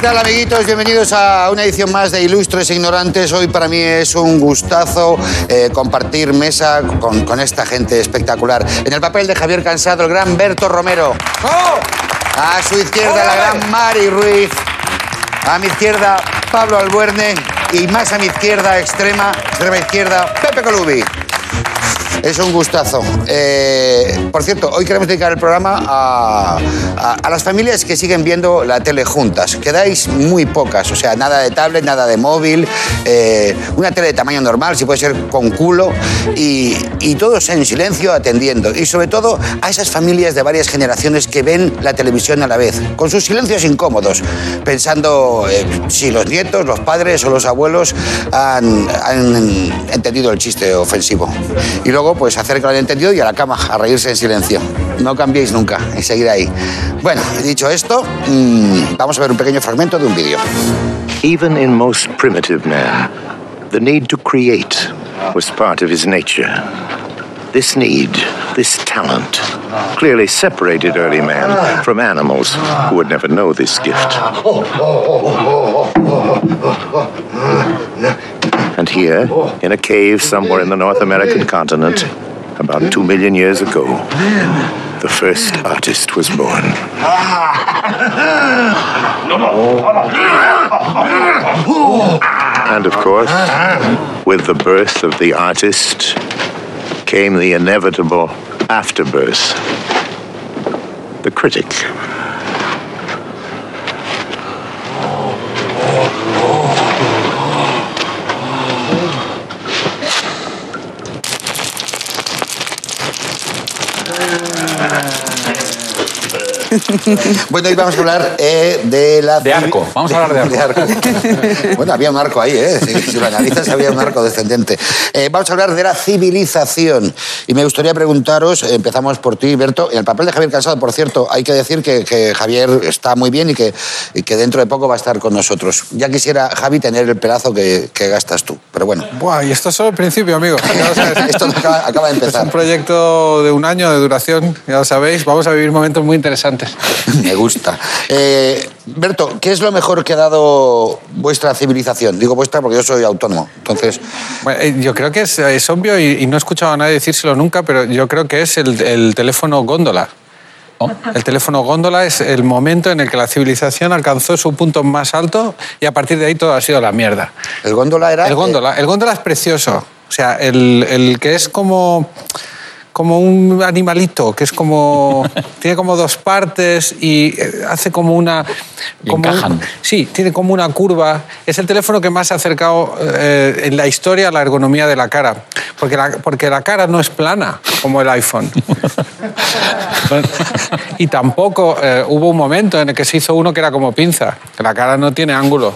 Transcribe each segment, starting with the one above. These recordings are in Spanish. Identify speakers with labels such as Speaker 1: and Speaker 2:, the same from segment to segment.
Speaker 1: tal, amiguitos? Bienvenidos a una edición más de Ilustres Ignorantes. Hoy para mí es un gustazo eh, compartir mesa con, con esta gente espectacular. En el papel de Javier Cansado, el gran Berto Romero.
Speaker 2: ¡Oh!
Speaker 1: A su izquierda, la gran Mari Ruiz. A mi izquierda, Pablo Albuerne. Y más a mi izquierda, extrema, extrema izquierda, Pepe Colubi. Es un gustazo. Eh, por cierto, hoy queremos dedicar el programa a, a- a las familias que siguen viendo la tele juntas. Quedáis muy pocas, o sea, nada de tablet, nada de móvil, eh, una tele de tamaño normal, si puede ser con culo, y, y todos en silencio atendiendo. Y sobre todo a esas familias de varias generaciones que ven la televisión a la vez, con sus silencios incómodos, pensando eh, si los nietos, los padres o los abuelos han, han entendido el chiste ofensivo. Y luego, pues hacer que lo han entendido y a la cama, a reírse en silencio. No cambiéis nunca y seguir ahí. Bueno, dicho esto, mm, vamos a ver un pequeño fragmento de un vídeo.
Speaker 3: Even in most primitive man, the need to create was part of his nature. This need, this talent, clearly separated early man from animals who would never know this gift. And here, in a cave somewhere in the North American continent, about two million years ago, the first artist was born. And of course, with the birth of the artist came the inevitable afterbirth the critic.
Speaker 1: Bueno, hoy vamos a hablar eh, de la...
Speaker 2: De arco, vamos a hablar de arco.
Speaker 1: bueno, había un arco ahí, ¿eh? Si, si lo analizas, había un arco descendente. Eh, vamos a hablar de la civilización. Y me gustaría preguntaros, eh, empezamos por ti, Berto, en el papel de Javier Cansado, por cierto, hay que decir que, que Javier está muy bien y que, y que dentro de poco va a estar con nosotros. Ya quisiera, Javi, tener el pedazo que, que gastas tú, pero bueno.
Speaker 4: Buah, y esto es solo el principio, amigos. Ya lo sabes.
Speaker 1: Esto acaba, acaba de
Speaker 4: Es un
Speaker 1: empezar.
Speaker 4: proyecto de un año de duración, ya lo sabéis. Vamos a vivir momentos muy interesantes.
Speaker 1: Me gusta. Eh, Berto, ¿qué es lo mejor que ha dado vuestra civilización? Digo vuestra porque yo soy autónomo. Entonces,
Speaker 4: Bueno, eh, yo creo que es, es obvio y, y no he escuchado a nadie decírselo nunca, pero yo creo que es el, el teléfono góndola. El teléfono góndola es el momento en el que la civilización alcanzó su punto más alto y a partir de ahí todo ha sido la mierda.
Speaker 1: el góndola era...
Speaker 4: El góndola, el góndola es precioso. O sea, el, el que es como, como un animalito, que es como. tiene como dos partes y eh, hace como una.
Speaker 2: Y
Speaker 4: como un-
Speaker 2: encajan.
Speaker 4: sí, tiene como una curva. Es el teléfono que más se ha acercado eh, en la historia a la ergonomía de la cara. Porque la, porque la cara no es plana como el iPhone. y tampoco eh, hubo un momento en el que se hizo uno que era como pinza, que la cara no tiene ángulo.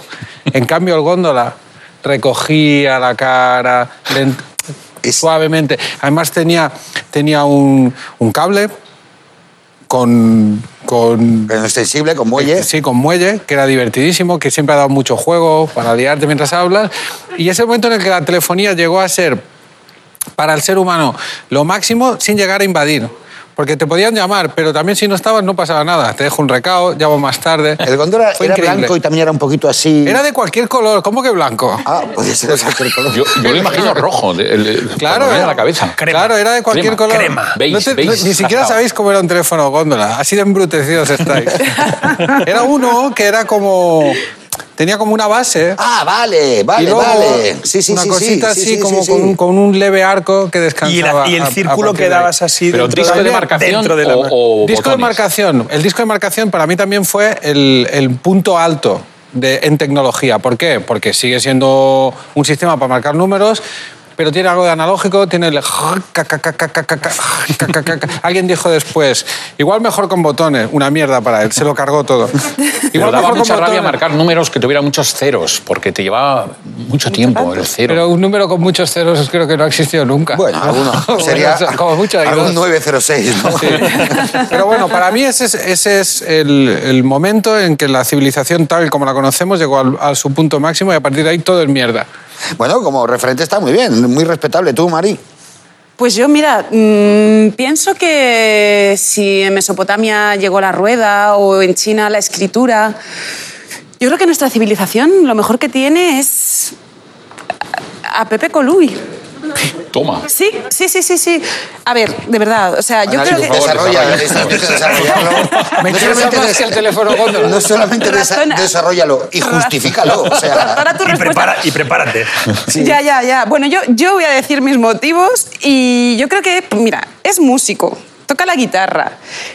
Speaker 4: En cambio, el góndola recogía la cara len-
Speaker 1: eh, Es-
Speaker 4: suavemente. Además, tenía, tenía un, un cable con. con
Speaker 1: eh, Extensible, con muelle.
Speaker 4: Sí, con muelle, que era divertidísimo, que siempre ha dado mucho juego para liarte mientras hablas. Y ese momento en el que la telefonía llegó a ser para el ser humano lo máximo sin llegar a invadir. Porque te podían llamar, pero también si no estabas no pasaba nada. Te dejo un recado, llamo más tarde.
Speaker 1: El góndola
Speaker 4: Fue
Speaker 1: era
Speaker 4: increíble.
Speaker 1: blanco y también era un poquito así.
Speaker 4: Era de cualquier color, ¿cómo que blanco?
Speaker 1: Ah, podía ser de cualquier color.
Speaker 2: Yo, yo lo imagino rojo, de- el- el- cuando
Speaker 4: Claro,
Speaker 2: me viene
Speaker 4: era,
Speaker 2: a la cabeza.
Speaker 4: claro, era de cualquier
Speaker 2: Crema,
Speaker 4: color.
Speaker 2: Crema,
Speaker 4: No
Speaker 2: beige,
Speaker 4: te- no-
Speaker 2: beige.
Speaker 4: ni siquiera sabéis cómo era un teléfono góndola. Así de embrutecidos estáis. era uno que era como... Tenía como una base
Speaker 1: Ah, vale, vale,
Speaker 4: y luego
Speaker 1: vale. Sí, sí,
Speaker 4: una
Speaker 1: sí,
Speaker 4: cosita
Speaker 1: sí,
Speaker 4: así
Speaker 1: sí, sí,
Speaker 4: como
Speaker 1: sí.
Speaker 4: Con, un, con un leve arco que
Speaker 5: Y el,
Speaker 4: descansaba.
Speaker 5: y el
Speaker 4: a- a
Speaker 5: círculo
Speaker 4: partir
Speaker 5: que
Speaker 4: de ahí.
Speaker 5: dabas así
Speaker 2: Pero
Speaker 5: dentro,
Speaker 2: disco de
Speaker 5: también,
Speaker 2: marcación
Speaker 5: dentro de la
Speaker 2: o,
Speaker 5: mano.
Speaker 2: o
Speaker 4: disco de
Speaker 2: botones.
Speaker 4: marcación. El disco de marcación para mí también fue el, el punto alto de, en tecnología. ¿Por qué? Porque sigue siendo un sistema para marcar números. Pero tiene algo de analógico, tiene el... Alguien dijo después, igual mejor con botones, una mierda para él, se lo cargó todo.
Speaker 2: Pero
Speaker 4: Igual
Speaker 2: daba
Speaker 4: mejor
Speaker 2: mucha
Speaker 4: con
Speaker 2: rabia
Speaker 4: botones,
Speaker 2: marcar números que tuviera muchos ceros, porque te llevaba mucho tiempo el cero.
Speaker 4: Pero un número con muchos ceros creo que no ha existido nunca.
Speaker 1: Bueno, alguno.
Speaker 4: Bueno,
Speaker 1: Sería
Speaker 4: eso, como mucho. hay
Speaker 1: algún
Speaker 4: dos.
Speaker 1: 906, ¿no?
Speaker 4: Sí. Pero bueno, para mí ese es, ese es el, el momento en que la civilización tal y como la conocemos llegó al- a su punto máximo y a partir de ahí todo es mierda.
Speaker 1: Bueno, como referente está muy bien, muy respetable. Tú, Mari.
Speaker 6: Pues yo, mira, mm, pienso que si en Mesopotamia llegó la rueda o en China la escritura, Yo creo que nuestra civilización lo mejor que tiene es a a Pepe Coluy.
Speaker 2: Toma.
Speaker 6: Sí, sí, sí, sí, sí. A ver, de verdad, o sea, yo creo que...
Speaker 2: por favor,
Speaker 1: Desarrolla,
Speaker 2: desarrolla.
Speaker 1: necesitas desarrollarlo.
Speaker 4: Me
Speaker 1: No
Speaker 4: interesa
Speaker 1: solamente
Speaker 4: más que el teléfono góndola.
Speaker 1: No solamente desa-
Speaker 6: Razona.
Speaker 1: desarrollalo y justifícalo. O sea,
Speaker 6: Para tu
Speaker 5: Y,
Speaker 6: respuesta.
Speaker 5: prepara, y prepárate.
Speaker 6: Ya, ya, ya. Bueno, yo, yo voy a decir mis motivos y yo creo que, pues mira, es músico, toca la guitarra,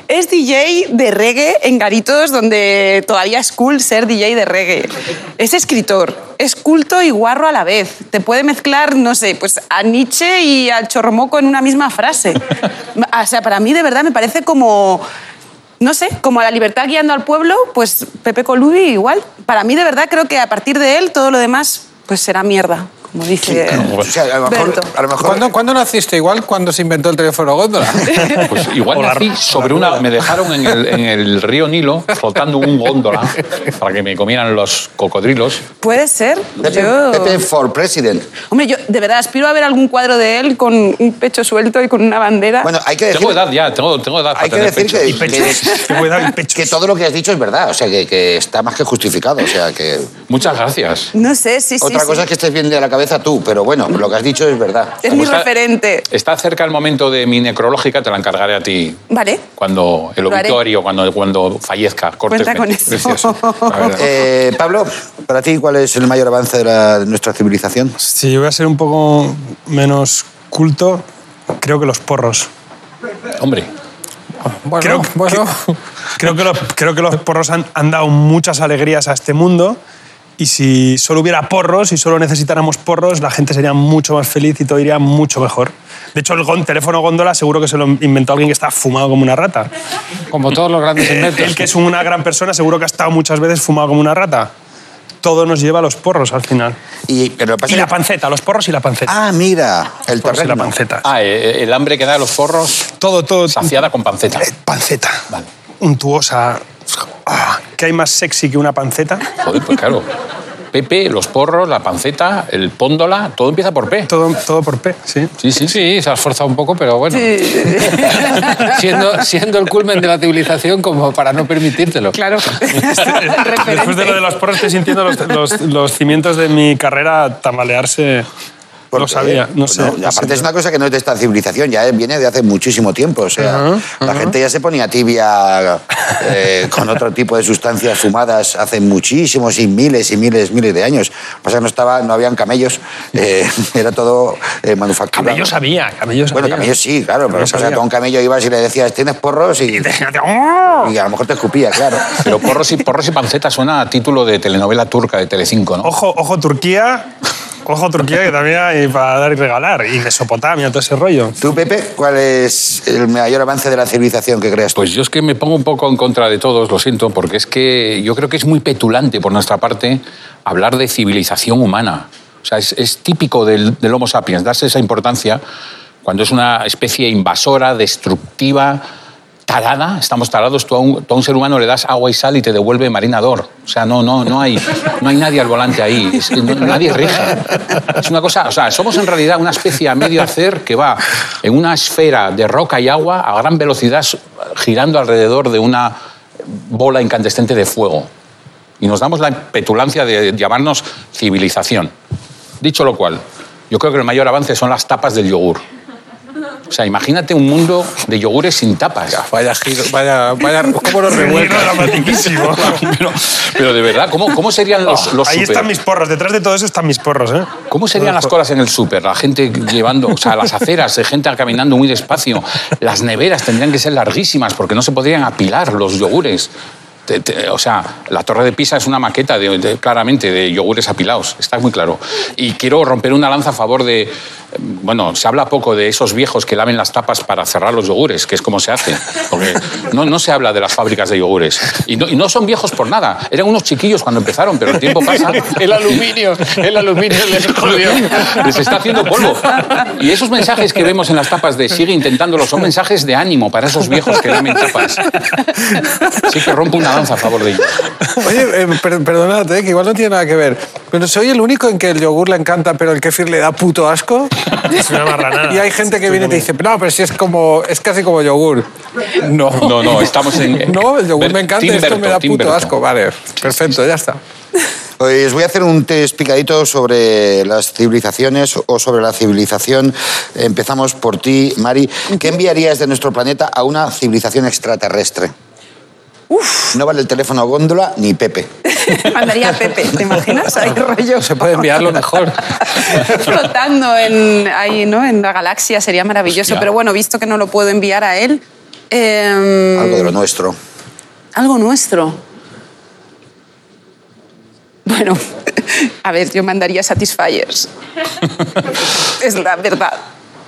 Speaker 6: es DJ de reggae en garitos donde todavía es cool ser DJ de reggae, es escritor, es culto y guarro a la vez, te puede mezclar, no sé, pues a Nietzsche y al chorromoco en una misma frase. O sea, para mí de verdad me parece como... No sé, como a la libertad guiando al pueblo, pues Pepe Colubi igual. Para mí, de verdad, creo que a partir de él todo lo demás pues será mierda, como dice
Speaker 1: o sea, a lo mejor.
Speaker 6: Berto.
Speaker 1: A lo mejor
Speaker 4: ¿Cuándo, cuándo naciste? Igual cuando se inventó el teléfono góndola.
Speaker 2: Pues igual nací sobre una. Me dejaron en el, en el río Nilo flotando un góndola para que me comieran los cocodrilos.
Speaker 6: Puede ser.
Speaker 1: Pepe,
Speaker 6: Yo-
Speaker 1: Pepe for President.
Speaker 6: Hombre, yo de verdad aspiro a ver algún cuadro de él con un pecho suelto y con una bandera.
Speaker 1: Bueno, hay que decir,
Speaker 2: Tengo edad ya, tengo, tengo edad para
Speaker 1: hay que,
Speaker 2: tener
Speaker 1: decir
Speaker 2: pecho.
Speaker 1: que,
Speaker 5: Y pechos. Te
Speaker 1: que-
Speaker 5: voy a dar el pecho.
Speaker 1: que todo lo que has dicho es verdad. O sea, que, que está más que justificado. O sea, que.
Speaker 2: Muchas gracias.
Speaker 6: no sé, sí, sí.
Speaker 1: Otra
Speaker 6: sí.
Speaker 1: cosa es que estés bien de la cabeza tú, pero bueno, lo que has dicho es verdad.
Speaker 6: Es
Speaker 2: Como
Speaker 6: mi
Speaker 2: está-
Speaker 6: referente.
Speaker 2: Está cerca el momento de mi necrológica, te la encargaré a ti
Speaker 6: Vale.
Speaker 2: cuando el
Speaker 6: Lo haré.
Speaker 2: obituario, cuando, cuando fallezca. córtesme.
Speaker 6: Cuenta con eso.
Speaker 2: Precioso. La verdad.
Speaker 1: Eh, Pablo, para ti, ¿cuál es el mayor avance de, la- de nuestra civilización?
Speaker 7: Si yo voy a ser un poco menos culto, creo que los porros.
Speaker 2: Hombre,
Speaker 4: Bueno,
Speaker 7: Creo, que-
Speaker 4: bueno.
Speaker 7: que, creo, que los, creo que los porros han, han dado muchas alegrías a este mundo. Y si solo hubiera porros y solo necesitáramos porros, la gente sería mucho más feliz y todo iría mucho mejor. De hecho, el gon- teléfono góndola seguro que se lo inventó alguien que está fumado como una rata.
Speaker 4: Como todos los grandes
Speaker 7: Eh,
Speaker 4: inventos.
Speaker 7: Él, que es una gran persona, seguro que ha estado muchas veces fumado como una rata. Todo nos lleva a los porros al final.
Speaker 1: Y, pero lo que pasa
Speaker 7: Y la
Speaker 1: es-
Speaker 7: panceta, los porros y la panceta.
Speaker 1: Ah, mira, el
Speaker 7: Porros y la
Speaker 1: torreno.
Speaker 7: panceta.
Speaker 2: ah, eh, el hambre que da a los forros
Speaker 7: Todo, todo.
Speaker 2: saciada con panceta.
Speaker 7: Eh, Panceta.
Speaker 2: Vale.
Speaker 7: Untuosa. Ah, ¿Qué hay más sexy que una panceta?
Speaker 2: Joder, pues claro. Pepe, los porros, la panceta, el póndola, todo empieza por P.
Speaker 7: Todo, todo por P, sí.
Speaker 2: Sí, sí, sí.
Speaker 4: Sí, se ha esforzado un poco, pero bueno. siendo, siendo el culmen de la civilización como para no permitírtelo.
Speaker 6: Claro.
Speaker 7: Después de lo de los porros estoy sintiendo los, los- los cimientos de mi carrera tambalearse.
Speaker 1: Porque,
Speaker 7: Lo sabía, no sé.
Speaker 1: bueno, y aparte es una cosa que no es de esta civilización, ya viene de hace muchísimo tiempo. O sea, la gente ya se ponía tibia eh, con otro tipo de sustancias fumadas hace muchísimos y miles y miles miles de años. Lo que Pasa es que no estaba, no habían camellos, eh, era todo eh, manufacturado.
Speaker 7: Camello sabía, camello sabía.
Speaker 1: Bueno, camellos sí, claro, pero
Speaker 7: Camello
Speaker 1: o sea,
Speaker 7: sabía.
Speaker 1: tú a un camello ibas y le decías, ¿tienes porros? Y,
Speaker 7: ¡Oh!
Speaker 1: y a lo mejor te escupía, claro.
Speaker 2: Pero porros y, porros y panceta suena a título de telenovela turca de Telecinco, ¿no?
Speaker 7: Ojo, ojo Turquía. Ojo Turquía, que también hay para dar y regalar. Y Mesopotamia, todo ese rollo.
Speaker 1: Tú, Pepe, ¿cuál es el mayor avance de la civilización que creas tú?
Speaker 2: Pues yo es que me pongo un poco en contra de todos, lo siento, porque es que yo creo que es muy petulante por nuestra parte hablar de civilización humana. O sea, es, es típico del, del Homo sapiens darse esa importancia cuando es una especie invasora, destructiva, tarada. Estamos tarados. Tú a un, tú a un ser humano le das agua y sal y te devuelve marinador. O sea, no, no, no, hay, no hay nadie al volante ahí. Es que no- nadie rige. Es una cosa. O sea, somos en realidad una especie a medio hacer que va en una esfera de roca y agua a gran velocidad girando alrededor de una bola incandescente de fuego. Y nos damos la petulancia de llamarnos civilización. Dicho lo cual, yo creo que el mayor avance son las tapas del yogur. O sea, imagínate un mundo de yogures sin tapas.
Speaker 4: Vaya giro, vaya, vaya. ¿Cómo lo
Speaker 7: Giro
Speaker 4: revuelcas?
Speaker 7: dramatiquísimo.
Speaker 2: Pero, pero de verdad, ¿cómo, cómo serían los, los
Speaker 7: Ahí
Speaker 2: súper?
Speaker 7: están mis porros, detrás de todo eso están mis porros, ¿eh?
Speaker 2: ¿Cómo serían las colas en el súper? La gente llevando, o sea, las aceras, eh, gente caminando muy despacio. Las neveras tendrían que ser larguísimas porque no se podrían apilar los yogures. Te- te- o sea, la Torre de Pisa es una maqueta, de- de- claramente, de yogures apilados. Está muy claro. Y quiero romper una lanza a favor de. eh, Bueno, se habla poco de esos viejos que laven las tapas para cerrar los yogures, que es como se hace. Porque no, no se habla de las fábricas de yogures. Y no, y no son viejos por nada. Eran unos chiquillos cuando empezaron, pero el tiempo pasa.
Speaker 4: El aluminio, el aluminio les jodió.
Speaker 2: Les está haciendo polvo. Y esos mensajes que vemos en las tapas de Sigue intentándolo son mensajes de ánimo para esos viejos que lamen tapas. Sí que rompo una danza a favor de ellos.
Speaker 4: Oye, eh, per- perdonad, eh, que igual no tiene nada que ver. Pero soy el único en que el yogur le encanta, pero el kéfir le da puto asco.
Speaker 7: Es una marranada.
Speaker 4: Y hay gente que
Speaker 7: Tú
Speaker 4: viene y te
Speaker 7: también.
Speaker 4: dice, no, pero si es como, es casi como yogur. No.
Speaker 2: No, no, estamos en-
Speaker 4: No, el yogur
Speaker 2: Ber-
Speaker 4: me encanta,
Speaker 2: Tim
Speaker 4: esto me
Speaker 2: Berto,
Speaker 4: da
Speaker 2: Tim
Speaker 4: puto
Speaker 2: Berto.
Speaker 4: asco. Vale, perfecto, ya está.
Speaker 1: Hoy os Pues voy a hacer un test picadito sobre las civilizaciones o sobre la civilización. Empezamos por ti, Mari. ¿Qué enviarías de nuestro planeta a una civilización extraterrestre? No vale el teléfono góndola ni Pepe.
Speaker 6: Eh. Mandaría a Pepe, ¿te imaginas? Ahí rollo.
Speaker 4: Se puede enviarlo mejor.
Speaker 6: flotando en, ahí, ¿no? en la galaxia, sería maravilloso.
Speaker 2: Hostia.
Speaker 6: Pero bueno, visto que no lo puedo enviar a él, em,
Speaker 1: Algo de lo nuestro.
Speaker 6: algo nuestro. Bueno, a ver, yo mandaría Satisfiers. es la verdad.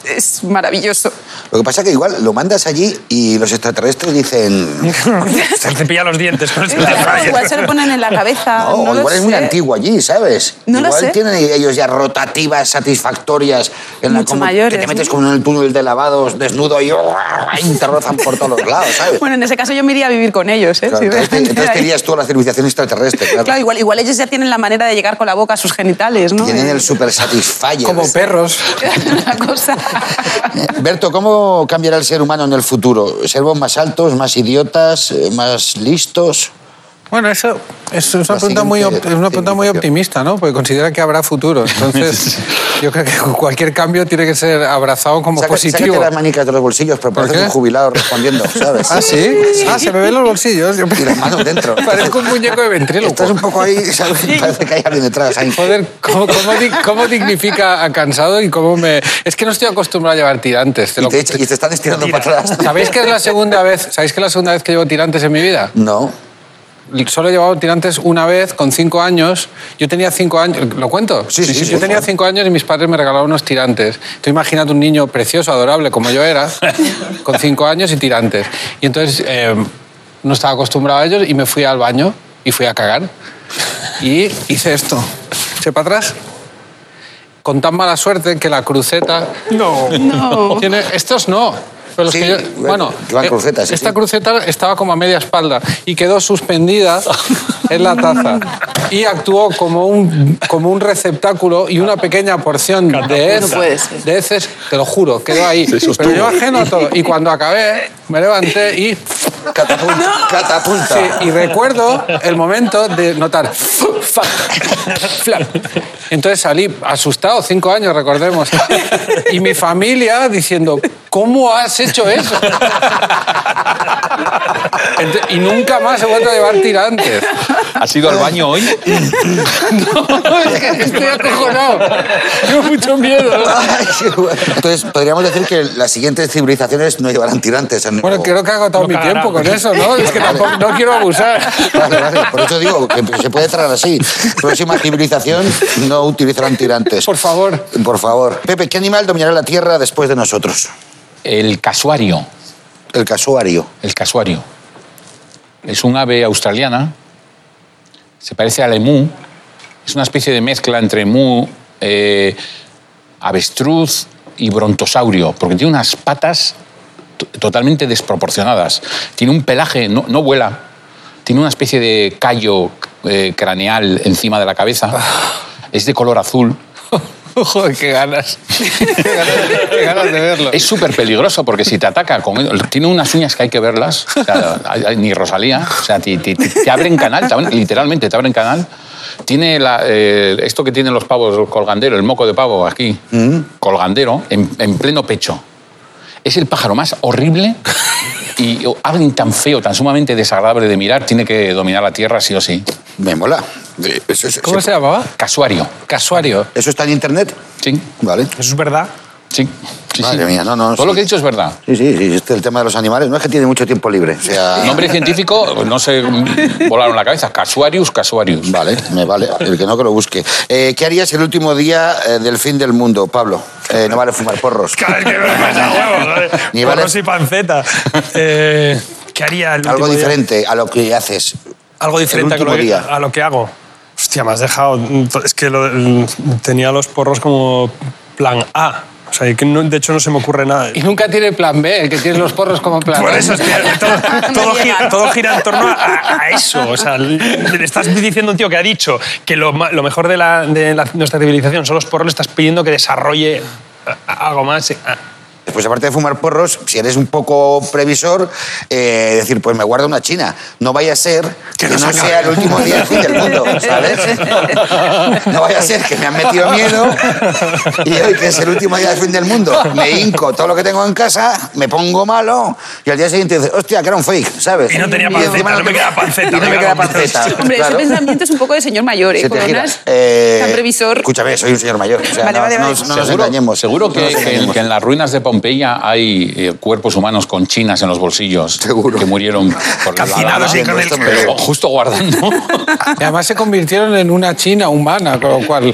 Speaker 6: Es maravilloso.
Speaker 1: Lo que pasa que igual lo mandas allí y los extraterrestres dicen...
Speaker 7: Se te pilla los dientes con este
Speaker 6: Claro,
Speaker 7: detalle.
Speaker 6: igual se lo ponen en la cabeza.
Speaker 1: No,
Speaker 6: Ah, No, lo
Speaker 1: "Oh, igual es muy
Speaker 6: sé.
Speaker 1: antiguo allí, ¿sabes?
Speaker 6: No lo
Speaker 1: igual
Speaker 6: sé.
Speaker 1: tienen ellos ya rotativas satisfactorias en la
Speaker 6: Mucho
Speaker 1: como-
Speaker 6: mayores,
Speaker 1: que te metes
Speaker 6: ¿no?
Speaker 1: como en el túnel de lavados desnudo y, y te rozan por todos los lados, ¿sabes?
Speaker 6: Bueno, en ese caso yo me iría a vivir con ellos. ¿eh?
Speaker 1: Claro,
Speaker 6: Si
Speaker 1: entonces, te-
Speaker 6: realmente
Speaker 1: entonces te
Speaker 6: hay-
Speaker 1: irías tú a la civilización extraterrestre, claro.
Speaker 6: Claro, igual, igual ellos ya tienen la manera de llegar con la boca a sus genitales, ¿no? Eh,
Speaker 1: Tienen el super satisfyer.
Speaker 4: Como perros.
Speaker 6: Una cosa.
Speaker 1: Eh, Berto, ¿cómo cambiará el ser humano en el futuro? ¿Servos más altos, más idiotas, eh, más listos?
Speaker 4: Bueno, eso, eso es una
Speaker 1: La
Speaker 4: pregunta, muy, op-
Speaker 1: siguiente
Speaker 4: es una pregunta muy
Speaker 1: civilización.
Speaker 4: optimista, ¿no? Porque considera que habrá futuro. Entonces, yo creo que cualquier cambio tiene que ser abrazado como
Speaker 1: Saca-
Speaker 4: positivo.
Speaker 1: Sácate las manicas de los bolsillos, pero
Speaker 4: ¿Por
Speaker 1: parece
Speaker 4: qué?
Speaker 1: un jubilado respondiendo, ¿sabes?
Speaker 4: Ah, ¿sí? Ah, se me ven los bolsillos. Yo-
Speaker 1: Y las manos dentro.
Speaker 4: Parezco un muñeco de
Speaker 1: Estás
Speaker 4: ventríloco.
Speaker 1: un poco ahí, ¿sabes? Parece que hay alguien detrás. ahí.
Speaker 4: Joder, ¿cómo, cómo di- cómo dignifica a cansado y cómo me...? Es que no estoy acostumbrado a llevar tirantes. te
Speaker 1: Y
Speaker 4: lo-
Speaker 1: te, echa- y te están estirando para atrás.
Speaker 4: ¿Sabéis que es la segunda vez? ¿Sabéis que es la segunda vez que llevo tirantes en mi vida?
Speaker 1: No.
Speaker 4: Solo he llevado tirantes una vez con cinco años. Yo tenía cinco años. ¿Lo cuento?
Speaker 1: Sí, sí, sí,
Speaker 4: Yo
Speaker 1: por
Speaker 4: tenía
Speaker 1: favor.
Speaker 4: cinco años y mis padres me regalaron unos tirantes. Tú imagínate un niño precioso, adorable como yo era, con cinco años y tirantes. Y entonces eh, no estaba acostumbrado a ellos y me fui al baño y fui a cagar. Y hice esto. ¿Se para atrás? Con tan mala suerte que la cruceta
Speaker 6: No.
Speaker 4: tiene- estos no. Pero los
Speaker 1: Sí,
Speaker 4: que yo-
Speaker 1: bueno,
Speaker 4: bueno,
Speaker 1: que van
Speaker 4: eh,
Speaker 1: crucetas, sí,
Speaker 4: esta
Speaker 1: sí.
Speaker 4: cruceta estaba como a media espalda y quedó suspendida en la taza y actuó como un, como un receptáculo y una pequeña porción de,
Speaker 6: No puede ser.
Speaker 4: her- de heces, te lo juro, quedó ahí. Pero yo ajeno a todo. Y cuando acabé, me levanté y
Speaker 1: Catapulta. Catapulta.
Speaker 4: Sí, y recuerdo el momento de notar. "Fuck, flap". Entonces salí asustado, cinco años, recordemos. Y mi familia diciendo, ¿cómo has hecho eso? Ent- y nunca más he vuelto a llevar tirantes.
Speaker 2: ¿Has ido al baño hoy?
Speaker 4: No, es que estoy acojonado. Tengo mucho miedo.
Speaker 1: Ay, qué bueno. Entonces, podríamos decir que las siguientes civilizaciones no llevarán tirantes. en-
Speaker 4: Bueno,
Speaker 1: o-
Speaker 4: creo que he agotado mi
Speaker 7: cagará.
Speaker 4: tiempo con eso, ¿no? Es que tampoco, no quiero abusar.
Speaker 1: Vale, vale, por eso digo que se puede cerrar así. Próxima civilización, no utilizarán tirantes.
Speaker 4: Por favor.
Speaker 1: Por favor. Pepe, ¿qué animal dominará la Tierra después de nosotros?
Speaker 2: El casuario.
Speaker 1: El casuario.
Speaker 2: El casuario. Es un ave australiana. Se parece al emú. Es una especie de mezcla entre emú, eh, avestruz y brontosaurio, porque tiene unas patas to- totalmente desproporcionadas. Tiene un pelaje, no, no vuela. Tiene una especie de callo eh, craneal encima de la cabeza. Es de color azul.
Speaker 4: Ah. Joder, qué ganas. Qué ganas, qué ganas de verlo.
Speaker 2: Es súper peligroso porque si te ataca, con, tiene unas uñas que hay que verlas, o sea, hay- hay- ni Rosalía, o sea, ti- ti- ti- te, abren canal, te abren- literalmente te abren canal. Tiene la, eh, esto que tienen los pavos, el colgandero, el moco de pavo aquí,
Speaker 1: Mm.
Speaker 2: colgandero, en, en pleno pecho. Es el pájaro más horrible y alguien tan feo, tan sumamente desagradable de mirar, tiene que dominar la tierra sí o sí.
Speaker 1: Me mola. Eh, Eso, eso-
Speaker 4: ¿Cómo
Speaker 1: eso-
Speaker 4: se llamaba?
Speaker 2: Casuario.
Speaker 4: Casuario.
Speaker 1: ¿eso está en internet?
Speaker 2: Sí,
Speaker 1: Vale.
Speaker 7: Eso es verdad.
Speaker 2: sí. sí,
Speaker 1: Madre
Speaker 2: sí.
Speaker 1: mía, no, no,
Speaker 2: Todo
Speaker 1: sí.
Speaker 2: lo que he dicho es verdad.
Speaker 1: Sí, sí, sí. Este, el tema de los animales no es que tiene mucho tiempo libre. O sea.
Speaker 2: Nombre científico, no se volaron la cabeza. Casuarius, Casuarius.
Speaker 1: Vale, me vale. El que no, que lo busque. Eh, ¿Qué harías el último día eh, del fin del mundo, Pablo? Eh, no vale fumar porros.
Speaker 7: Claro, es que no me pasa huevo, joder.
Speaker 1: Ni vale-
Speaker 7: Porros y panceta. Eh, ¿Qué haría el
Speaker 1: Algo
Speaker 7: último día?
Speaker 1: diferente a lo que haces.
Speaker 7: Algo diferente a lo,
Speaker 1: último
Speaker 7: que,
Speaker 1: día.
Speaker 7: a lo que hago. Hostia, me has dejado. Es que lo- tenía los porros como plan A. O sea, que no- de hecho no se me ocurre nada.
Speaker 4: Y nunca tiene plan B, el que tiene los porros como plan
Speaker 7: Por
Speaker 4: A.
Speaker 7: eso, hostia, todo, todo
Speaker 6: Me
Speaker 7: gira,
Speaker 6: llega.
Speaker 7: todo gira en torno a, a eso. O sea, le estás diciendo a un tío que ha dicho que lo, ma- lo mejor de, la- de la- nuestra civilización son los porros, le estás pidiendo que desarrolle a- algo más. sí. Ah,
Speaker 1: Después, aparte de fumar porros, si eres un poco previsor, eh, decir, pues me guardo una china. No vaya a ser que, no, sea el último día del fin del mundo, ¿sabes? No vaya a ser que me han metido miedo y hoy que es el último día del fin del mundo, me hinco todo lo que tengo en casa, me pongo malo y al día siguiente dices, hostia, que era un fake, ¿sabes?
Speaker 7: Y no tenía
Speaker 1: encima
Speaker 7: panceta, no me
Speaker 1: tenía-
Speaker 7: queda panceta,
Speaker 1: Y no me
Speaker 7: venga,
Speaker 1: queda
Speaker 7: vamos.
Speaker 1: panceta.
Speaker 6: Hombre,
Speaker 1: claro.
Speaker 6: ese pensamiento es un poco de señor mayor, ¿eh?
Speaker 1: Se te
Speaker 6: Con
Speaker 1: gira.
Speaker 6: unas-
Speaker 1: Eh,
Speaker 6: tan previsor.
Speaker 1: Escúchame, soy un señor mayor. o sea,
Speaker 6: Vale,
Speaker 1: no,
Speaker 6: vale,
Speaker 1: no-
Speaker 6: vale.
Speaker 1: no nos engañemos.
Speaker 2: Seguro que,
Speaker 1: No nos
Speaker 2: que en-
Speaker 1: engañemos.
Speaker 2: que en las ruinas de Pompeya hay eh, cuerpos humanos con chinas en los bolsillos
Speaker 1: Seguro.
Speaker 2: que murieron por la
Speaker 7: Calcinados
Speaker 2: lava,
Speaker 7: y con el-
Speaker 1: Esto me-
Speaker 2: pero justo guardando.
Speaker 4: Y además se convirtieron en una china humana, con lo cual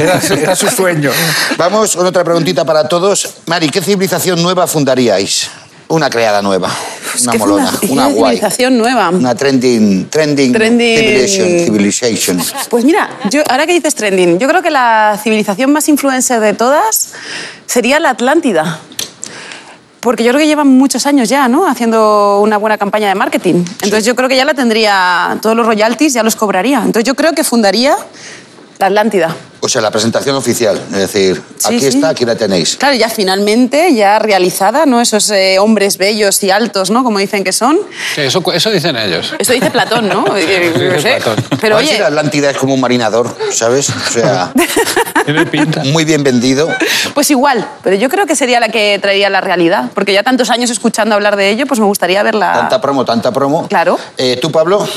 Speaker 4: era, era su sueño.
Speaker 1: Vamos con otra preguntita para todos. Mari, ¿qué civilización nueva fundaríais? Una creada nueva, una
Speaker 6: Pues que fue
Speaker 1: molona,
Speaker 6: una-
Speaker 1: una
Speaker 6: una
Speaker 1: guay.
Speaker 6: civilización nueva.
Speaker 1: Una trending, trending,
Speaker 6: Trending.
Speaker 1: civilization. civilization.
Speaker 6: Pues mira, yo, ahora que dices trending, yo creo que la civilización más influencer de todas sería la Atlántida. Porque yo creo que llevan muchos años ya, ¿no? Haciendo una buena campaña de marketing. Entonces yo creo que ya la tendría, todos los royalties ya los cobraría. Entonces yo creo que fundaría la Atlántida.
Speaker 1: O sea, la presentación oficial. Es decir,
Speaker 6: Sí,
Speaker 1: aquí
Speaker 6: sí.
Speaker 1: está, aquí la tenéis.
Speaker 6: Claro, ya finalmente, ya realizada, ¿no? Esos eh, hombres bellos y altos, ¿no? Como dicen que son.
Speaker 4: eso, dicen ellos.
Speaker 6: Eso dice Platón, ¿no? Eh, yo qué
Speaker 4: dice
Speaker 6: sé.
Speaker 4: Platón.
Speaker 6: Pero
Speaker 1: A ver si
Speaker 6: oye,
Speaker 1: la Atlántida es como un marinador, ¿sabes? O sea, muy bien vendido.
Speaker 6: Pues igual, pero yo creo que sería la que traería la realidad, porque ya tantos años escuchando hablar de ello, pues me gustaría verla.
Speaker 1: Tanta promo, tanta promo.
Speaker 6: Claro.
Speaker 1: Eh, ¿Tú, Pablo?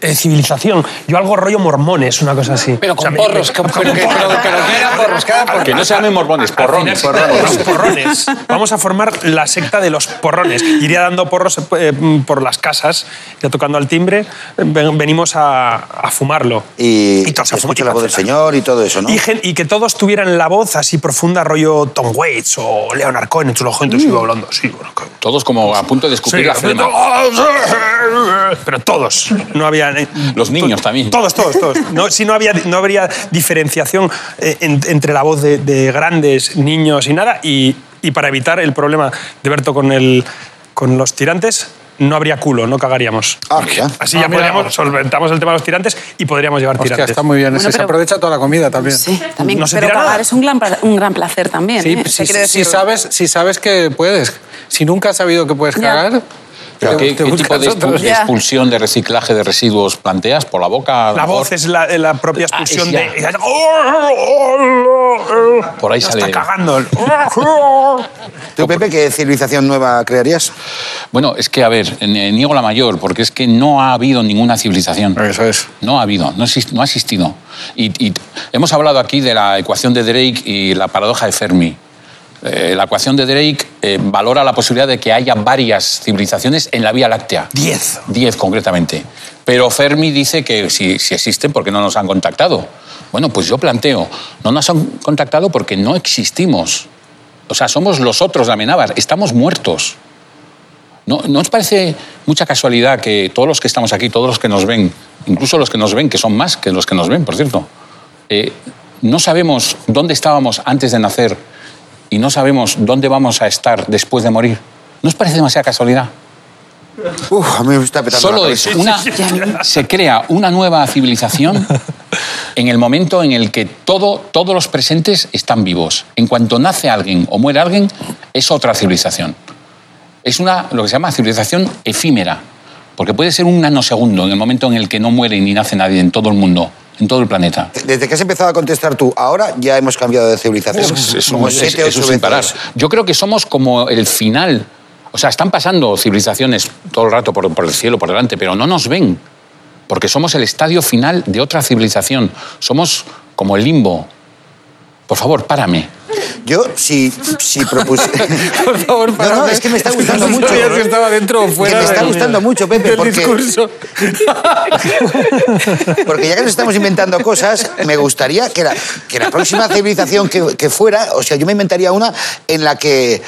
Speaker 7: eh, civilización. Yo algo rollo mormones, una cosa así.
Speaker 4: Pero
Speaker 7: O sea,
Speaker 4: con
Speaker 7: me-
Speaker 4: porros,
Speaker 7: me-
Speaker 4: pero que- pero- pero que eran porros, que eran porros.
Speaker 2: que no se llamen morbones, porrones.
Speaker 7: Los porrones. Vamos a formar la secta de los porrones. Iría dando porros eh, por las casas, ya tocando al timbre. eh, Ven- Venimos a, a fumarlo.
Speaker 1: Y,
Speaker 7: todos a fumar,
Speaker 1: escucha la voz del
Speaker 7: panceta.
Speaker 1: Señor y todo eso, ¿no?
Speaker 7: Y, gen- y que todos tuvieran la voz así profunda, rollo Tom Waits o Leonard Cohen. Entonces la
Speaker 4: Mm.
Speaker 7: gente sigue hablando así. Bueno, que-
Speaker 2: Todos como a punto de escupir
Speaker 7: Sí,
Speaker 2: la
Speaker 7: pero-
Speaker 2: flema.
Speaker 4: "Oh,
Speaker 7: Pero todos. No había. eh,
Speaker 2: Los niños también.
Speaker 7: Todos, todos, todos. No, sí, no, había, no habría diferenciación eh, en- entre la voz de, de grandes, niños y nada. Y, y para evitar el problema de Berto con, el, con los tirantes, no habría culo, no cagaríamos.
Speaker 1: Ah, mira.
Speaker 7: Así
Speaker 4: Ah,
Speaker 7: ya
Speaker 4: mira.
Speaker 7: podríamos, solventamos el tema de los tirantes y podríamos llevar
Speaker 4: Hostia,
Speaker 7: tirantes.
Speaker 4: está muy bien.
Speaker 6: Bueno,
Speaker 4: ese. Se
Speaker 6: pero-
Speaker 4: aprovecha toda la comida también.
Speaker 6: Sí, también.
Speaker 7: No se
Speaker 6: pero
Speaker 7: tira
Speaker 6: cagar
Speaker 7: nada.
Speaker 6: es un gran, pla- un gran placer también.
Speaker 4: Sí,
Speaker 6: ¿eh?
Speaker 1: pues
Speaker 6: O
Speaker 4: si-
Speaker 6: sea, quiero
Speaker 4: si,
Speaker 6: decir-
Speaker 4: sabes, si sabes que puedes. Si nunca has sabido que puedes
Speaker 6: Ya.
Speaker 4: cagar,
Speaker 2: Pero
Speaker 4: te-
Speaker 2: ¿Qué,
Speaker 4: te
Speaker 2: qué tipo
Speaker 4: buscas
Speaker 2: de
Speaker 4: otro.
Speaker 2: expu- de
Speaker 6: Ya.
Speaker 2: expulsión, de reciclaje de residuos planteas? ¿Por la boca? a lo
Speaker 7: La
Speaker 2: mejor?
Speaker 7: voz eh. es la, la propia expulsión
Speaker 2: ya.
Speaker 7: de. Por
Speaker 2: Por ahí
Speaker 7: Está
Speaker 2: sale.
Speaker 7: cagando.
Speaker 1: Ah. ¿Tú, Pepe, qué civilización nueva crearías?
Speaker 2: Bueno, es que, a ver, eh, niego la mayor, porque es que no ha habido ninguna civilización.
Speaker 4: Eso es.
Speaker 2: No ha habido, no, exist- no ha existido. Y, y hemos hablado aquí de la ecuación de Drake y la paradoja de Fermi. Eh, la ecuación de Drake eh, valora la posibilidad de que haya varias civilizaciones en la Vía Láctea.
Speaker 7: Diez.
Speaker 2: Diez, concretamente. Pero Fermi dice que si, si existen, ¿por qué no nos han contactado? Bueno, pues yo planteo, no nos han contactado porque no existimos. O sea, somos los otros de Amenábar, estamos muertos. ¿No, ¿No os parece mucha casualidad que todos los que estamos aquí, todos los que nos ven, incluso los que nos ven, que son más que los que nos ven, por cierto, eh, no sabemos dónde estábamos antes de nacer y no sabemos dónde vamos a estar después de morir? ¿No os parece demasiada casualidad?
Speaker 1: Uf, a mí me está petando la
Speaker 2: Solo
Speaker 1: cabeza.
Speaker 2: es una, se crea una nueva civilización en el momento en el que todo, todos los presentes están vivos. En cuanto nace alguien o muere alguien, es otra civilización. Es una, lo que se llama civilización efímera, porque puede ser un nanosegundo en el momento en el que no muere ni nace nadie en todo el mundo, en todo el planeta.
Speaker 1: Desde que has empezado a contestar tú, ahora ya hemos cambiado de civilización. Como
Speaker 2: es-
Speaker 1: siete,
Speaker 2: eso
Speaker 1: ocho
Speaker 2: sin
Speaker 1: veces.
Speaker 2: parar. Yo creo que somos como el final. O sea, están pasando civilizaciones todo el rato por, por el cielo, por delante, pero no nos ven. Porque somos el estadio final de otra civilización. Somos como el limbo. Por favor, párame.
Speaker 1: Yo, si, si propuse...
Speaker 4: Por favor,
Speaker 1: No,
Speaker 4: párame.
Speaker 1: no, es que me está gustando
Speaker 4: No
Speaker 1: mucho.
Speaker 4: sabía si
Speaker 1: Que
Speaker 4: estaba dentro o fuera.
Speaker 1: me está
Speaker 4: del-
Speaker 1: gustando mucho, Pepe,
Speaker 4: del
Speaker 1: porque,
Speaker 4: discurso.
Speaker 1: porque ya que nos estamos inventando cosas, me gustaría que la, que la próxima civilización que, que fuera, o sea, yo me inventaría una en la que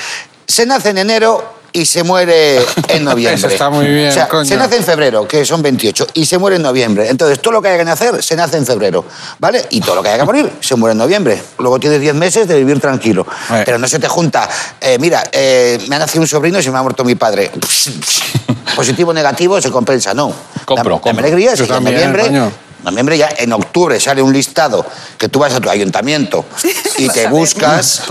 Speaker 1: se nace en enero y se muere en noviembre.
Speaker 4: Eso está muy bien,
Speaker 1: O sea,
Speaker 4: coño.
Speaker 1: se nace en febrero, que son 28, y se muere en noviembre. Entonces, todo lo que haya que nacer se nace en febrero, ¿vale? Y todo lo que haya que morir se muere en noviembre. Luego tienes 10 meses de vivir tranquilo.
Speaker 4: Vale.
Speaker 1: Pero no se te junta, eh, mira, eh, me ha nacido un sobrino y se me ha muerto mi padre. Positivo, negativo, se compensa, no.
Speaker 2: Compro,
Speaker 1: Dame
Speaker 2: compro.
Speaker 1: alegrías y
Speaker 4: Yo
Speaker 1: en
Speaker 4: también,
Speaker 1: noviembre
Speaker 4: coño.
Speaker 1: noviembre ya, en octubre sale un listado que tú vas a tu ayuntamiento y te buscas,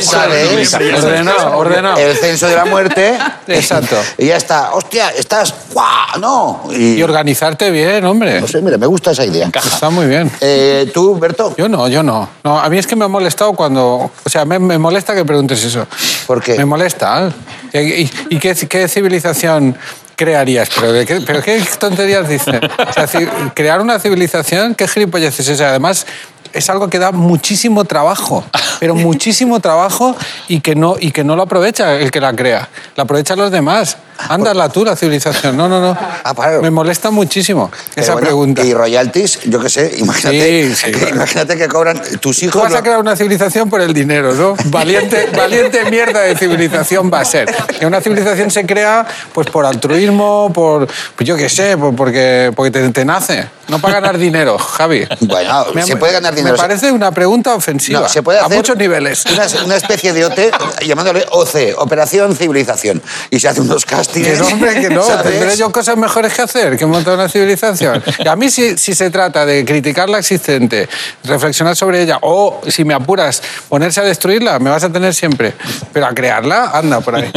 Speaker 1: sales,
Speaker 4: Ordenado, ordenado.
Speaker 1: el censo de la muerte.
Speaker 4: Exacto.
Speaker 1: Y ya está. Hostia, estás. ¡Guau! No. Y,
Speaker 4: Y organizarte bien, hombre.
Speaker 1: no sé, mira, me gusta esa idea.
Speaker 4: Está muy bien.
Speaker 1: Eh, tú, Berto,
Speaker 4: Yo no, yo no. No, a mí es que me ha molestado cuando... O sea, me, me molesta que preguntes eso.
Speaker 1: ¿Por qué?
Speaker 4: Me molesta. ¿eh? ¿Y, y qué, qué civilización crearías? ¿Pero, de qué, pero qué tonterías dices? O sea, ci- crear una civilización, qué gilipollas es esa? Además, es algo que da muchísimo trabajo, pero muchísimo trabajo y que no, y que no lo aprovecha el que la crea. La aprovechan los demás. Ándala tú, la civilización. No, no, no.
Speaker 1: Ah, claro.
Speaker 4: Me molesta muchísimo
Speaker 1: Pero
Speaker 4: esa
Speaker 1: bueno,
Speaker 4: pregunta.
Speaker 1: Y royalties, yo qué sé, imagínate,
Speaker 4: Sí, sí,
Speaker 1: que,
Speaker 4: claro.
Speaker 1: imagínate que cobran tus
Speaker 4: Tú
Speaker 1: hijos.
Speaker 4: vas a
Speaker 1: Pues lo-
Speaker 4: crear una civilización por el dinero, ¿no? Valiente, valiente mierda de civilización va a ser. Que una civilización se crea pues por altruismo, por pues yo qué sé, por- porque, porque te, te nace. No para ganar dinero, Javi.
Speaker 1: Bueno,
Speaker 4: Me-
Speaker 1: se puede ganar dinero.
Speaker 4: Me parece una pregunta ofensiva.
Speaker 1: No, se puede hacer
Speaker 4: A muchos niveles.
Speaker 1: Una, una especie de OT llamándole OC, Operación Civilización. Y se hace unos
Speaker 4: Que
Speaker 1: castings.
Speaker 4: no, hombre, que no.
Speaker 1: ¿sabes?
Speaker 4: Tendré yo cosas mejores que hacer que montar una civilización. Y a mí, si, si se trata de criticar la existente, reflexionar sobre ella, o si me apuras, ponerse a destruirla, me vas a tener siempre. Pero a crearla, anda por ahí.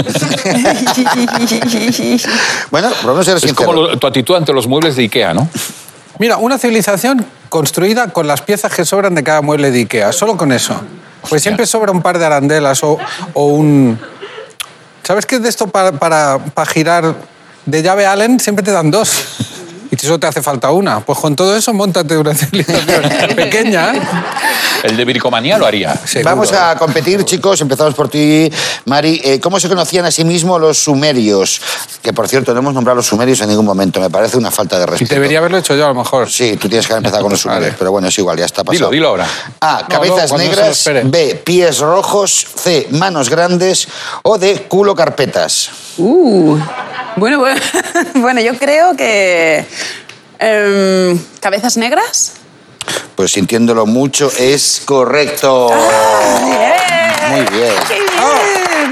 Speaker 1: Bueno, vamos a ser
Speaker 2: Es como
Speaker 1: sinceros.
Speaker 2: lo- tu actitud ante los muebles de Ikea, ¿no?
Speaker 4: Mira, una civilización construida con las piezas que sobran de cada mueble de Ikea, solo con eso. Pues siempre sobra un par de arandelas o, o un... ¿Sabes qué es de esto para, para, para girar de llave Allen? Siempre te dan dos. Y solo te hace falta una. Pues con todo eso, montate una civilización pequeña.
Speaker 2: El de Bricomanía lo haría.
Speaker 4: seguro.
Speaker 1: Vamos a competir, chicos. Empezamos por ti, Mari. Eh, ¿Cómo se conocían a sí mismos los sumerios? Que, por cierto, no hemos nombrado a los sumerios en ningún momento. Me parece una falta de respeto.
Speaker 4: Debería haberlo hecho yo, a lo mejor.
Speaker 1: Sí, tú tienes que haber empezado con los sumerios,
Speaker 4: Vale.
Speaker 1: pero bueno, es igual, ya está pasado.
Speaker 2: Dilo, dilo ahora.
Speaker 1: A,
Speaker 4: No,
Speaker 1: cabezas
Speaker 4: no, cuando se lo
Speaker 1: negras,
Speaker 4: espere.
Speaker 1: B, pies rojos, C, manos grandes o D, culo carpetas.
Speaker 6: Uh, bueno, bueno, bueno, yo creo que... em, ¿Cabezas negras?
Speaker 1: Pues sintiéndolo mucho, es correcto. Muy bien.
Speaker 6: ¡Qué
Speaker 1: Ah.
Speaker 6: bien!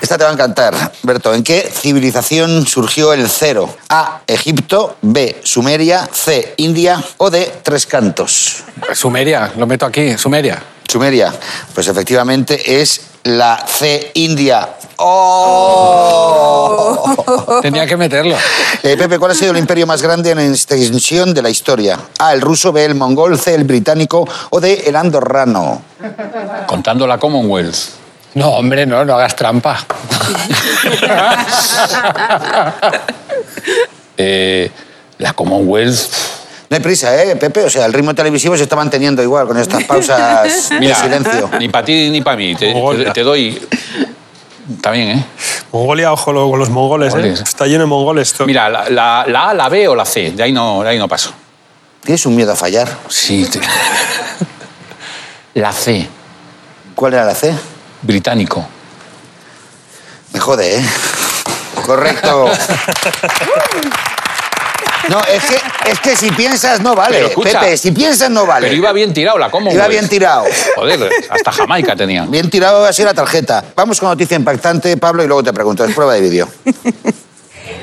Speaker 1: Esta te va a encantar, Berto. ¿En qué civilización surgió el cero? A, Egipto, B, Sumeria, C, India o D, Tres Cantos.
Speaker 4: Sumeria, lo meto aquí, Sumeria.
Speaker 1: Sumeria, pues efectivamente es la C, India. ¡Oh!
Speaker 4: Tenía que meterlo.
Speaker 1: Eh, Pepe, ¿cuál ha sido el imperio más grande en extensión de la historia? A, el ruso, B, el mongol, C, el británico o D, el andorrano.
Speaker 2: Contando la Commonwealth.
Speaker 4: No, hombre, no, no hagas trampa.
Speaker 2: Eh, la Commonwealth.
Speaker 1: No hay prisa, ¿eh, Pepe? O sea, el ritmo televisivo se está manteniendo igual con estas pausas de
Speaker 2: Mira,
Speaker 1: silencio.
Speaker 2: ni para ti ni para mí. Te,
Speaker 7: Mongolia.
Speaker 2: te- te doy. También, ¿eh?
Speaker 7: Mongolia, ojo lo- con los mongoles, ¿eh?
Speaker 2: Mongoles.
Speaker 7: Está lleno de mongoles. esto.
Speaker 2: Mira, la, la- la A, la B o la C. De ahí no, de ahí no paso.
Speaker 1: ¿Tienes un miedo a fallar?
Speaker 2: Sí. te- La C.
Speaker 1: ¿Cuál era la C?
Speaker 2: Británico.
Speaker 1: Me jode, ¿eh? Correcto. No, es que, es que si piensas no vale,
Speaker 2: Pero escucha,
Speaker 1: Pepe, si piensas no vale.
Speaker 2: Pero iba bien tirado la Commonwealth.
Speaker 1: Iba bien tirado.
Speaker 2: Joder, hasta Jamaica tenía.
Speaker 1: Bien tirado así la tarjeta. Vamos con noticia impactante, Pablo, y luego te pregunto, es prueba de vídeo.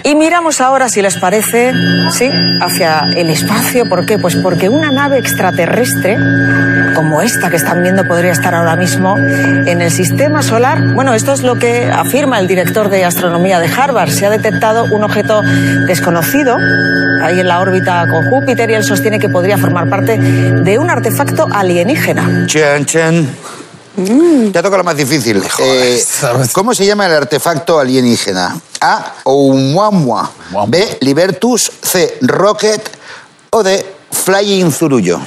Speaker 5: Y miramos ahora, si les parece, sí, hacia el espacio. ¿Por qué? Pues porque una nave extraterrestre, como esta que están viendo, podría estar ahora mismo en el sistema solar. Bueno, esto es lo que afirma el director de astronomía de Harvard. Se ha detectado un objeto desconocido ahí en la órbita con Júpiter y él sostiene que podría formar parte de un artefacto alienígena.
Speaker 1: Chen, chen. Ya toca lo más difícil. Eh, ¿Cómo se llama el artefacto alienígena? A. Oumuamua.
Speaker 2: Oumuamua.
Speaker 1: B. Libertus. C. Rocket. O D. Flying Zurullo.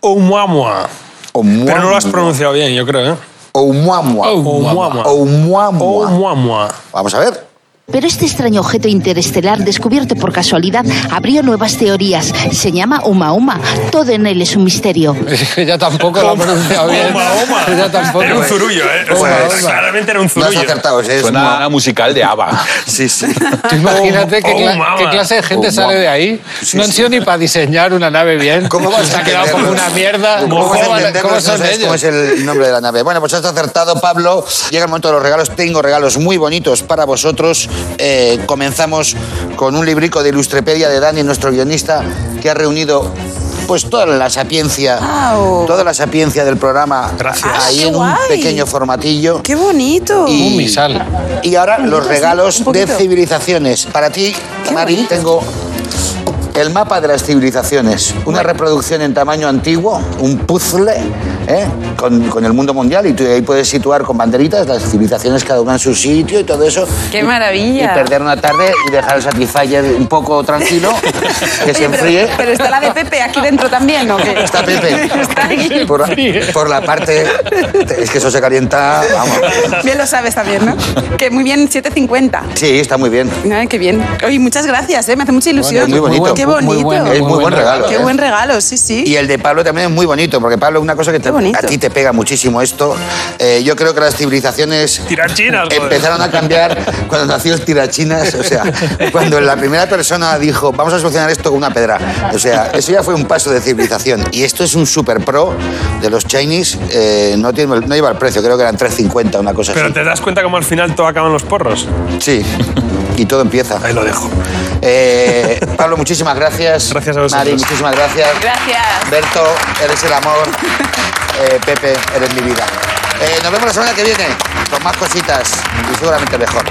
Speaker 7: Oumuamua.
Speaker 1: Oumuamua.
Speaker 7: Pero no lo has pronunciado bien, yo creo, ¿eh?
Speaker 1: Oumuamua.
Speaker 7: Oumuamua.
Speaker 1: Oumuamua.
Speaker 7: Oumuamua.
Speaker 1: Vamos a ver.
Speaker 8: Pero este extraño objeto interestelar descubierto por casualidad abrió nuevas teorías. Se llama Uma Uma. Todo en él es un misterio.
Speaker 4: Ella tampoco lo ha pronunciado bien.
Speaker 7: Oma, oma.
Speaker 4: Ella tampoco.
Speaker 7: Era un zurullo, ¿eh? O sea, claramente era un
Speaker 1: No has
Speaker 7: zurullo.
Speaker 1: acertado. Es
Speaker 2: Suena a musical de ABBA.
Speaker 1: Sí, sí.
Speaker 4: Tú imagínate qué,
Speaker 7: Oh,
Speaker 4: cla-
Speaker 7: mama.
Speaker 4: qué clase de gente
Speaker 1: Oh,
Speaker 4: sale
Speaker 1: mama.
Speaker 4: de ahí.
Speaker 1: Sí,
Speaker 4: no han
Speaker 1: sí.
Speaker 4: sido ni para diseñar una nave bien.
Speaker 1: ¿Cómo vas
Speaker 4: Se
Speaker 1: a
Speaker 4: ha quedado como
Speaker 1: entenderlo?
Speaker 4: una mierda.
Speaker 1: ¿Cómo, vas a
Speaker 4: van-
Speaker 1: entenderlo
Speaker 4: cómo
Speaker 1: si no
Speaker 4: son
Speaker 1: sabes
Speaker 4: ellos?
Speaker 1: cómo es el nombre de la nave? Bueno, pues has acertado, Pablo. Llega el momento de los regalos. Tengo regalos muy bonitos para vosotros. eh, comenzamos con un librico de Ilustrepedia de Dani, nuestro guionista, que ha reunido pues toda la sapiencia,
Speaker 6: Guau.
Speaker 1: toda la sapiencia del programa
Speaker 7: Gracias.
Speaker 1: ahí
Speaker 6: Ah, qué
Speaker 1: en un
Speaker 6: guay.
Speaker 1: pequeño formatillo.
Speaker 6: ¡Qué bonito!
Speaker 1: Y-
Speaker 2: Un misal.
Speaker 1: Y ahora los
Speaker 6: poquito, sí,
Speaker 1: regalos
Speaker 6: un
Speaker 1: de
Speaker 6: poquito.
Speaker 1: civilizaciones. Para ti,
Speaker 6: Qué
Speaker 1: Mari,
Speaker 6: bonito.
Speaker 1: tengo el mapa de las civilizaciones. Una reproducción en tamaño antiguo, un puzzle ¿eh? con, con el mundo mundial. Y tú ahí puedes situar con banderitas las civilizaciones, cada una en su sitio y todo eso.
Speaker 6: ¡Qué
Speaker 1: Y-
Speaker 6: maravilla!
Speaker 1: Y perder una tarde y dejar el Satisfyer un poco tranquilo, que se
Speaker 6: Oye, pero-
Speaker 1: enfríe.
Speaker 6: Pero, está la de Pepe aquí dentro también, ¿o qué?
Speaker 1: Está Pepe.
Speaker 6: Está aquí.
Speaker 1: Por, la- por la parte. Es que eso se calienta. Vamos.
Speaker 6: Bien lo sabes también, ¿no? Que muy bien, 750.
Speaker 1: Sí, está muy bien.
Speaker 6: Ay, qué bien. Oye, muchas gracias, ¿eh? me hace mucha ilusión.
Speaker 1: Muy bonito.
Speaker 6: Qué
Speaker 1: Muy
Speaker 6: bonito.
Speaker 2: bueno,
Speaker 1: Es muy
Speaker 2: buen
Speaker 1: buen regalo.
Speaker 6: Qué
Speaker 1: ¿eh?
Speaker 6: buen regalo, sí, sí.
Speaker 1: Y el de Pablo también es muy bonito, porque Pablo, una cosa que te-
Speaker 6: Qué bonito.
Speaker 1: a ti te pega muchísimo esto. eh, yo creo que las civilizaciones
Speaker 7: Tirachinas, joder.
Speaker 1: empezaron a cambiar cuando nació el tirachinas. O sea, cuando la primera persona dijo, vamos a solucionar esto con una pedra. O sea, eso ya fue un paso de civilización. Y esto es un super pro de los Chinese. eh, no, tiene, no lleva el precio, creo que eran 3.50, una cosa
Speaker 7: Pero
Speaker 1: así.
Speaker 7: te das cuenta cómo al final todo acaban los porros.
Speaker 1: Sí. Y todo empieza.
Speaker 7: Ahí lo dejo.
Speaker 1: Eh, Pablo, muchísimas gracias.
Speaker 7: Gracias a vosotros.
Speaker 1: Mari, muchísimas gracias.
Speaker 6: Gracias.
Speaker 1: Berto, eres el amor. Eh, Pepe, eres mi vida. Eh, nos vemos la semana que viene con más cositas y seguramente mejor.